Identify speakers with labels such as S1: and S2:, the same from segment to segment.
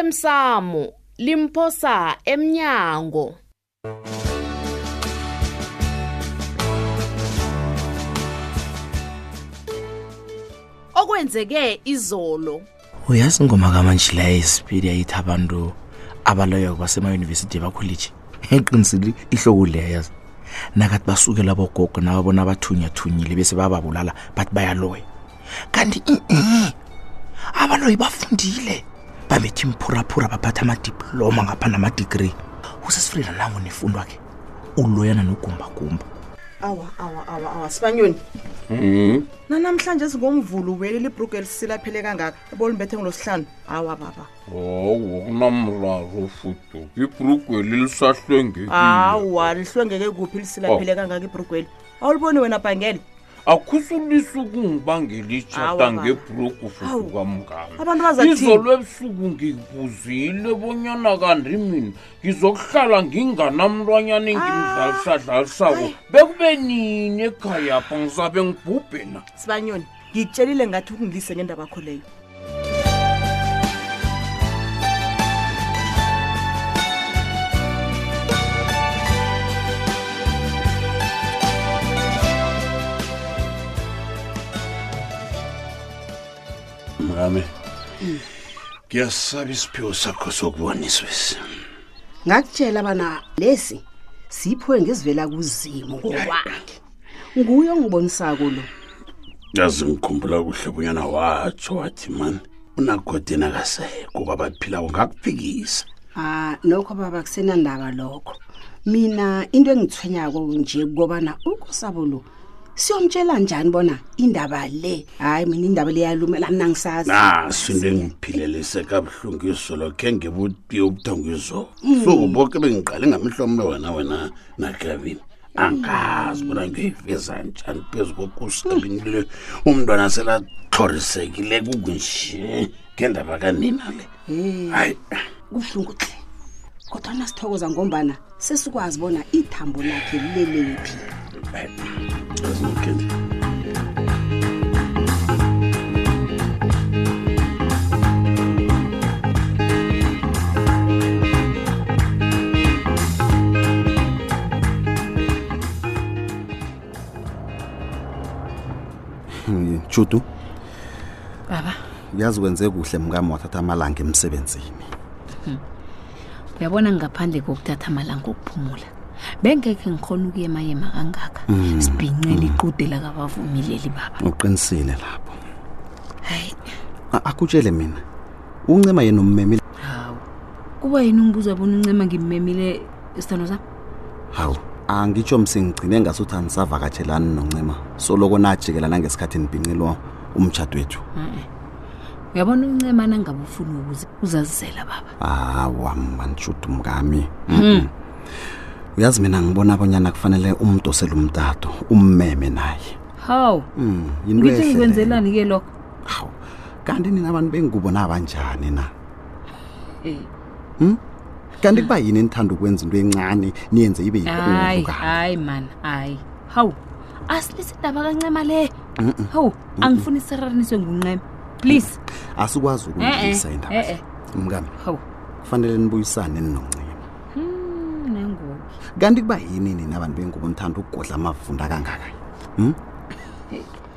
S1: osemsamo limphosa emnyango okwenzeke izolo
S2: uyazi ingoma kamanje la isipidi ayithi abantu abaloyako basemayunivesithi bakholiji eqinisile ihloko leya yazi nakathi basukela bogogo nabo bona bathunyathunyile bese bababulala bathi bayaloya kanti i-e abaloyi bafundile babethi mphuraphura baphatha amadiploma ngapha namadigri usesifrida nango nefundo akhe uloyana nogumbagumba
S3: awa awa awa awa sibanyoni nanamhlanje singomvulo ubuyelile ibhrugu elisilaphele kangaka ebolimbethe ngolosihlanu awa baba
S4: hawu kunamraro fudu ibrugweli lisahlwengekile
S3: awa lihlwengeke kuphi lisilaphele
S4: Hmm. Oh.
S3: kangaka ibhrugweli awuliboni wena bhangele
S4: akhusulisa ukungibangela
S3: Awa,
S4: itshata
S3: baba.
S4: ngebrugu fudu
S3: Hawu.
S4: kamngani
S3: Abantu bazathini?
S4: izolo ebusuku ngikuzile bonyana kanti mina ngizokuhlala nginganamntwanyana engimdlalisadlalisako bekube nini ekhayapha ngizabe ngibhubhe na
S3: sibanyoni ngikutshelile ngathi ukungilise ngendaba akho leyo
S5: mkami ngiyasaba isiphiwo sakho sokuboniswesi
S6: ngakutshela bana lesi siyiphiwe ngezivela kuzimo ngokwakhe nguye ongibonisako lo
S5: yazi ngikhumbula kuhle bunyana watsho wathi mani unagodeni akasekho kwabaphilako ngakuphikisa
S6: ah nokho baba kusenandaba lokho mina into engithwenyako nje kukobana ukosabo lo siyomtshela njani bona indaba le hayi mina indaba le yalumela mna ngisazi
S5: naso into engiphilelise kabuhlungu izolo khe ngebutiye ubuthongo izolo suku boke bengiqale ngamihlomulo wena wena naklavini angazi bona ngiyoyiveza njani phezu kokusabini le umntwana selatlhorisekile kukunje ngendaba kanina le hayi
S6: kubuhlungu hle kodwa nasithokoza ngombana sesikwazi bona ithambo lakhe lilelephi
S5: azimkhendi
S7: Chutu. Baba. Yazi wenze kuhle mkami wathatha amalanga emsebenzini.
S8: uyabona ngaphandle kokuthatha amalanga okuphumula bengekhe ngikhona ukuyema-yema kangaka sibhincele iqude lakabavumileli baba
S7: Uqinisile lapho.
S8: hayi
S7: A- Akutshele mina. Uncema yena ummemile.
S8: hawu kuba yini ungibuza bona uncema ngimemile isithando sami
S7: Hawu. Angitsho msingigcine ngasuthi anisavakatshelani noncema. Soloko najikela nangesikhathi nibhincelwa umtshato wethu.
S8: uyabona uncema nangabe ufuna ukuze uzazizela baba Hmm.
S7: Hawa manchutu mkami. Mhm. Uyazi mina ngibona abonyana kufanele umdosele umtato, ummeme naye.
S8: hawu
S7: Mhm, yinto
S8: ngithi
S7: ehle leyo.
S8: ngikwenzelani-ke lokho
S7: Hawu. Kanti nina abantu bengikubona abanjani na? Hmm?
S8: Eh,
S7: kanti kuba yini enithanda ukwenza into encane niyenze ibe
S8: hayi
S7: yikulu kanti
S8: hayi mani hayi hawu asilisidaba kancema le hawu angifuni isiraraniswe ngunqema please
S7: asikwazi ukuyisa
S8: Eh, eh,
S7: indaba
S8: eh,
S7: le. mngami
S8: hawu
S7: kufanele nibuyisane ninoncema
S8: Hmm, nangoku
S7: kanti kuba yini nina abantu bengubo nithanda ukugodla amavunda kangaka Hmm?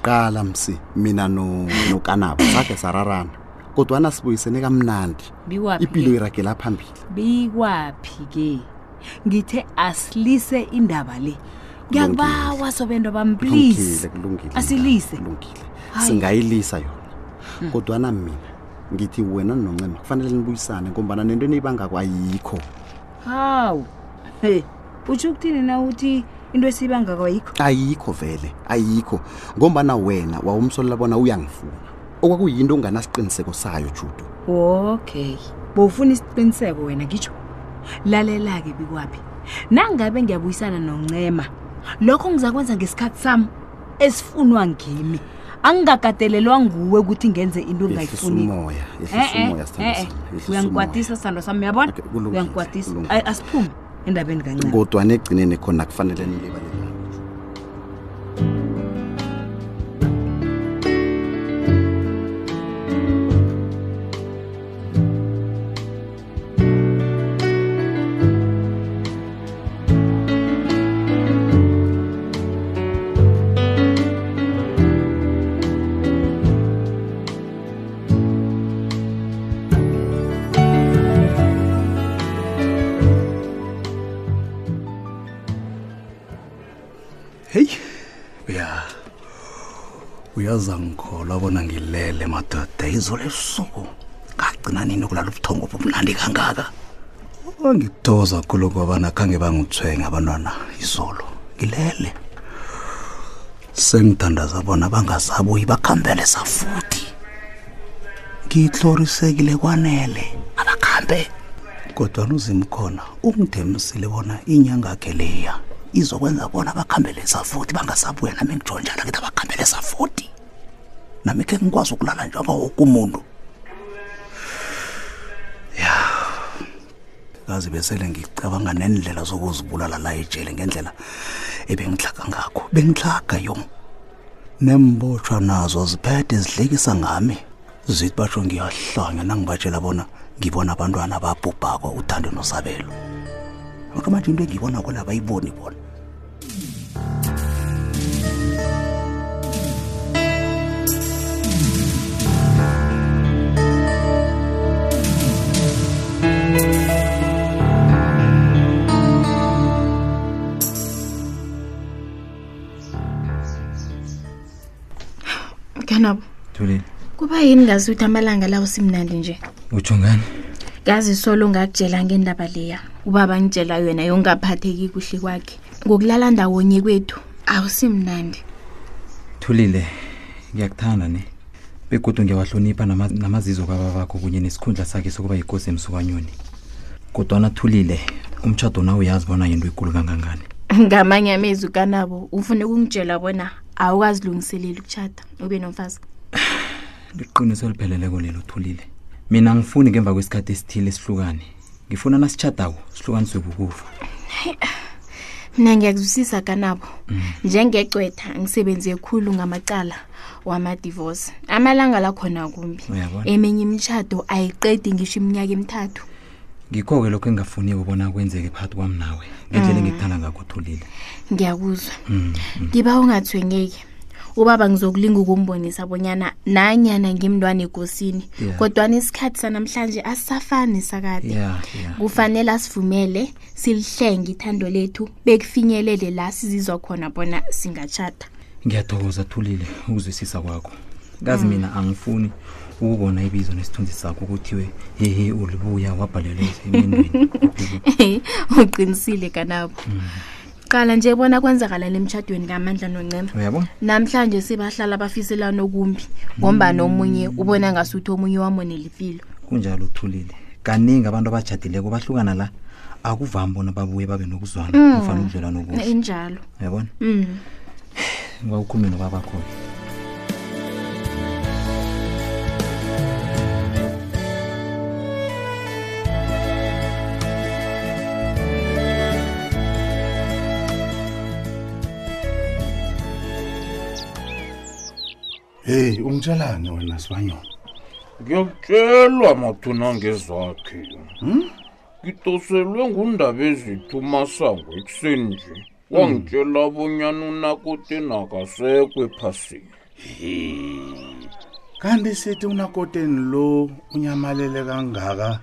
S7: qala msi mina no- nokanaba sakhe sararana kodwana sibuyisene kamnandi
S8: Bikwaphi
S7: ipilo
S8: ke?
S7: iragela phambili
S8: bikwaphi-ke ngithe asilise indaba le ngiyakubawa sobento bam please
S7: kulungile
S8: asilise
S7: kulungile
S8: Hayi. Hmm.
S7: singayilisa yona kodwana mina ngithi wena noncema kufanele nibuyisane ngombana nento eniyibangako ayikho
S8: hawu he utsho ukuthini na uthi into esiyibangakwa yikho
S7: ayikho vele ayikho ngombana wena wawumsolela bona uyangifuna okwakuyinto onganasiqiniseko sayo judu
S8: okay bowufuna isiqiniseko wena ngitsho lalela-ke bikwaphi nangabe ngiyabuyisana noncema lokho ngizakwenza ngesikhathi sami esifunwa ngimi angingakatelelwa nguwe ukuthi ngenze into
S7: Yehlisa
S8: ongayifuniko
S7: umoya, yehlisa
S8: Eh, eh,
S7: umoya, sithandwa
S8: eh, eh.
S7: sami, yehlisa
S8: uyangikwatisa sithando sami uyabona
S7: Okay, kulungile,
S8: uyangikwatisa
S7: kulungile.
S8: Ay, asiphume endabeni
S7: umoya.
S8: kancane
S7: kodwa negcineni khona kufanele nilibalele
S9: heyi ya uyaza ngikholwa bona ngilele madoda izolo ebusuku ngagcina nini ukulala ubuthongo bumnandi kangaka angithokoza khulu ngobana khange bangithwenga abantwana izolo ngilele sengithandaza bona bangasabuyi bakhambele safuthi ngitlorisekile kwanele abakhambe kodwana uzimkhona ungidemisile bona inyangakhe leya izokwenza bona bakhambele safuthi bangasabuya nami ngijonjala kithi abakhambele safuthi nami khe ngikwazi ukulala njengawoke umuntu kazi besele ngicabanga nendlela zokuzibulala la ejele ngendlela ebengihlaga ngakho bengihlaga yo nembotshwa nazo ziphethe zidlekisa ngami zithi batsho ngiyahlanya nangibatshela bona ngibona abantwana babhubhakwa uthando nosabelo lokho manje into engiyibona kola bayiboni bona
S10: mganabo
S2: thulile
S10: kuba yini ngazi ukuthi amalanga lawo simnandi nje
S2: utsho ngani
S10: ngazi solo ngakutshela ngendaba leya ubaba ngitshela yona yongaphatheki kuhle kwakhe ngokulala ndawonye kwethu awusimnandi
S2: thulile ngiyakuthanda ne begodwa ngiyawahlonipha nama- namazizo kwaba bakho kunye nesikhundla sakhe sokuba yikosi emsukanyoni kodwana thulile umtshado nawo uyazi bona yinto ekulu kangangani
S10: ngamanye amezwi kanabo ufune ukungitshela bona awukazilungiseleli ukutshata ube nomfazi
S2: liqiniso lipheleleko lelo thulile mina ngifuni ngemva kwesikhathi esithile sihlukane ngifuna nasitshadako sihlukaniswe kukufa
S10: mna ngiyakuzwisisa kanabo njengecwetha ngisebenze khulu ngamacala wamadivosi amalanga lakhona kumbi
S2: Uyabona.
S10: eminye imishado ayiqedi ngisho iminyaka emithathu
S2: ngikho-ke lokho engingafuniki ubona kwenzeke phakathi kwami nawe ngendlela engikuthanda ngakho thulile
S10: ngiyakuzwa ngiba ungathwengeki ubaba ngizokulinga ukumbonisa bonyana nanyana ngimntwana egosini
S2: Yeah.
S10: kodwana isikhathi sanamhlanje asisafani sakade
S2: ya ya
S10: kufanele asivumele silihlenge ithando lethu bekufinyelele la sizizwa khona bona singatshata
S2: ngiyathokoza thulile ukuzwisisa kwakho kazi mina angifuni ukubona ibizo nesithunzi sakho kuthiwe hehe ulibuya wabhalelwe emendweni
S10: uqinisile kanabo qala nje bona kwenzakala emtshadweni kamandla noncema
S2: uyabona
S10: namhlanje sebahlala bafiselana okumbi ngombani omunye ubona ngasuthi omunye wamonela ipilo
S2: kunjalo uthulile kaningi abantu abajadileko bahlukana la akuvami bona babuye babe nokuzwana kufana ubudlelwano obuhle
S10: injalo
S2: uyabona
S10: Mm.
S2: ngiwawukhulume nobabakhoyo
S11: heyi ungitshelani wena sibanyoni
S4: ngiyakutshelwa mathuna ngezakhe ngitoselwe ngundaba ezithu masango ekuseni nje wangitshela bonyana unakote nakasekho ephasini
S11: kanti sithi unakoteni lo unyamalele kangaka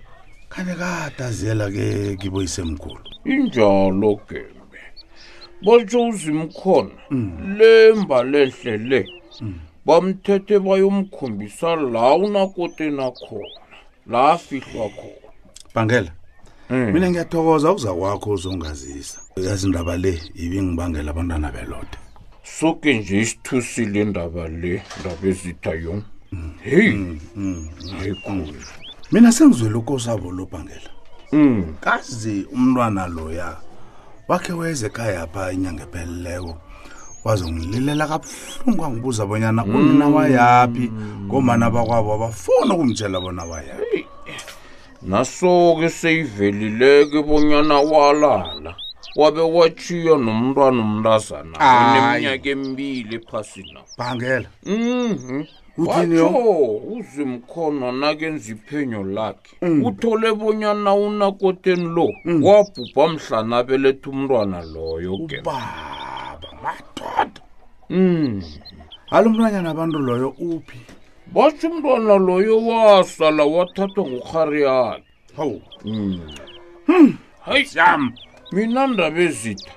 S11: kanti kadazela ke kiboyisemkhulu
S4: injalo gembe batsho uzimkhona
S11: Mm.
S4: lemba lehle le bamthethe bayomkhombisa la unakoteni akhona la afihlwa khona
S11: bhangela
S4: Mm.
S11: mina ngiyathokoza ukuza kwakho uzongazisa yazi indaba le ibingibangela abantwana belode
S4: soke nje isithusile indaba le ndaba ezitha yong
S11: Mm.
S4: heyi hayikhulu
S11: mina sengizwele ukosabo lo bhangela
S4: Mm,
S11: kazi umntwana loya wakhe weze ekhaya pha inyanga epheleleko wazongililela kabuhlungu angibuza bonyana unina wayaphi ngomana bakwabo abafuna ukumtshela bona wayaphi
S4: naso-ke seyivelileke bonyana walala wabe watshiya nomntwana umntazana
S11: Ayi.
S4: oneminyaka emibili ephasina
S11: bhangela
S4: Mhm.
S11: Uthini
S4: watsho
S11: yo?
S4: uzimkhona nakenza iphenyo lakhe
S11: Mm.
S4: uthole bonyana unakoteni lo wabhubha mhlana abeletha umntwana loyo ke
S11: baba madoda
S4: Mm.
S11: halo umntwanyana abantu loyo uphi
S4: batsho umntwana loyo wasala wathathwa ngurhari yakhe
S11: hawu
S4: hayi mina ndaba ezitha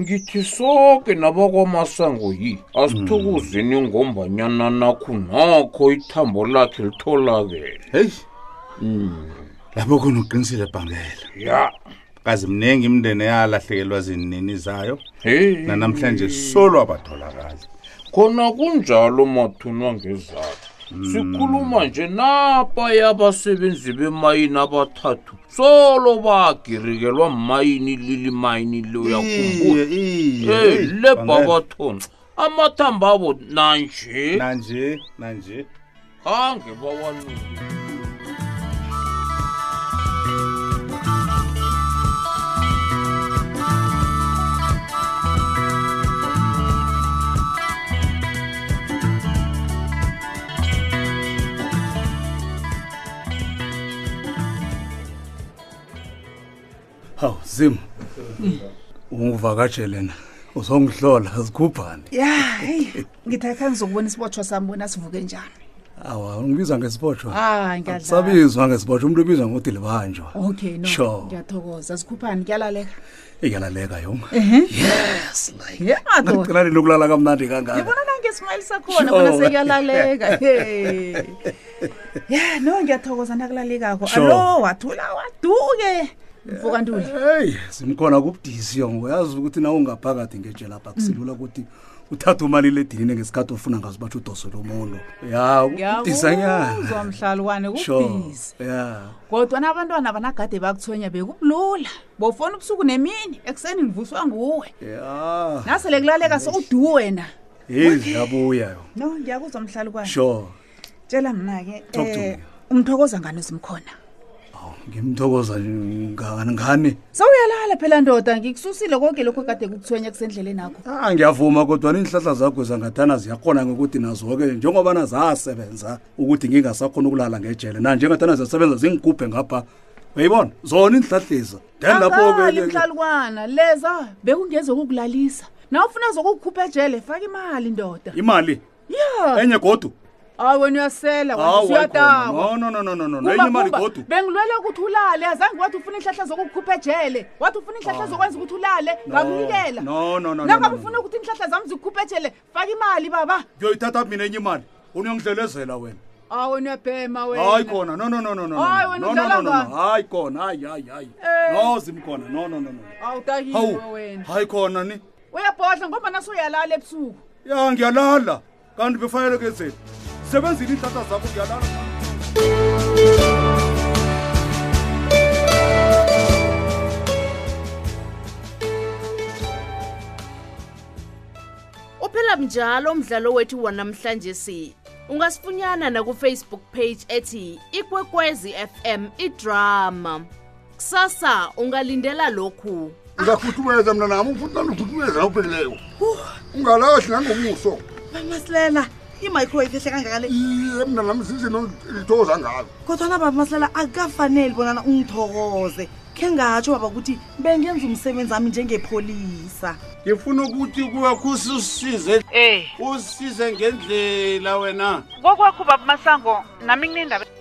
S4: ngithi soke nabakwamasango yi asithokozeni
S11: Mm.
S4: ngombanyana nakho nakho ithambo lakhe litholakele
S11: heyi lapho khona uqinisile bhangela
S4: ya
S11: kazi mningi imndeni eyalahlekelwa zinini zayo
S4: heyi
S11: nanamhlanje solo abatholakali
S4: khona kunjalo mathunwa ngezakho
S11: Hmm.
S4: sikhuluma nje napaya abasebenzi bemayini abathathu solo bagirikelwa mayini lili mayini
S11: iye
S4: loyakhumbuza
S11: iye
S4: Hey, lebha bathona amathambo abo nanje
S11: nanje nanje
S4: khange bawanuke
S12: hawu zim ungivakatshele na uzongihlola zigubhane
S13: ya heyi ngithi akhange zokubona isibotshwa sami bona sivuke njani
S12: awa ungibiza ngesibotshwa
S13: hayi ngiyadlala
S12: sabizwa ngesibotshwa umuntu ubizwa ngokuthi libanjwa
S13: okay
S12: Sure.
S13: no ngiyathokoza zikhuphani kuyalaleka
S12: iyalaleka yong
S13: yes yabona
S12: nakuqinani lokulala kamnandi kangaka
S13: nangesmayile sakhona bona
S12: Sure.
S13: sekuyalaleka Hey. ya no ngiyathokoza nakulalekakho
S12: Sure.
S13: alo wathula waduke mvuka ntuli
S12: heyi simkhona kubudisi yong uyazi ukuthi nawe ungaphakathi ngejela pha kusilula
S13: Mm.
S12: ukuthi uthathe umalile edinini ngesikhathi ofuna ngazo batsho udosele umuntu ya kubudisanyana
S13: Ngiyakuzwa mhlalwane
S12: sure
S13: kubhizi
S12: ya
S13: kodwa nabantwana banagade bakuthonya bekubulula bofona ubusuku nemini ekuseni ngivuswa nguwe
S12: ya
S13: nasele kulaleka sowudu wena
S12: yezi yabuya yo
S13: no ngiyakuzwa mhlalukwane
S12: sure
S13: tshela mna-ke
S12: Talk to
S13: eh,
S12: me.
S13: umthokoza ngani uzimkhona
S12: ngimthokoza ngani ngani
S13: sawuyalala phela ndoda ngikususile konke lokho kade kukuthwenya kusendleleni akho
S12: Ah, ngiyavuma kodwa niinhlahla zakho zangathana ziyakhona ngokuthi nazo-ke njengobana zasebenza ukuthi ngingasakhona ukulala ngejele na njengathana ziyasebenza zingigubhe ngapha uyayibona zona iinhlahleza then
S13: akali
S12: lapho-ke
S13: mhlalukwana leza bekungezokukulalisa na ufuna zokukukhupha ejele faka imali ndoda
S12: imali
S13: Ah. ya
S12: enye godu
S13: hayi wena uyasela wena
S12: Hawu, hayikhona.
S13: usuyatawa
S12: no no no no no no
S13: Kuba,
S12: enye imali
S13: kuba,
S12: godu
S13: bengilwela ukuthi ulale azange wathi ufuna ihlahla zokukukhupha ejele wathi ufuna ihlahla zokwenza ukuthi ulale ngakunikela
S12: no no no, no, no
S13: nangabe
S12: no.
S13: ufuna ukuthi inhlahla zami zikukhupha ejele faka imali baba
S12: ngiyoyithatha mina enye imali uniyongidlelezela wena
S13: hayi wena uyabhema
S12: hayi
S13: wena
S12: khona no no no no no no,
S13: Hayi, wena
S12: no no no no no
S13: udlala
S12: hayi khona hayi hayi hayi
S13: Eh.
S12: no zimkhona no no no no
S13: awutakiwe
S12: hawu
S13: wena
S12: hayi khona ni
S13: uyabhodla ngombana suyalala ebusuku
S12: ya ngiyalala kanti befanelekezeni sebenzile iinhlahla zakho ngiyalala
S1: uphela mnjalo umdlalo wethu wanamhlanje si ungasifunyana nakufacebook page ethi ikwekwezi fm idrama kusasa ungalindela lokhu
S14: uzakhuthumeza mna nami ufuna ukhuthumeza awupheleleyo ungalahli nangomuso
S15: bamasilela i-microwave ehle kangaka le
S14: iye mna nami zizinto lithokoza ngalo
S15: kodwana bamasilela akukafaneli bonana ungithokoze khe ngatsho baba ukuthi bengenza umsebenzi wami njengepholisa
S5: ngifuna ukuthi kuwe kusi usize
S15: Eh.
S5: usize ngendlela wena
S15: kokwakho baba masango nami kunendaba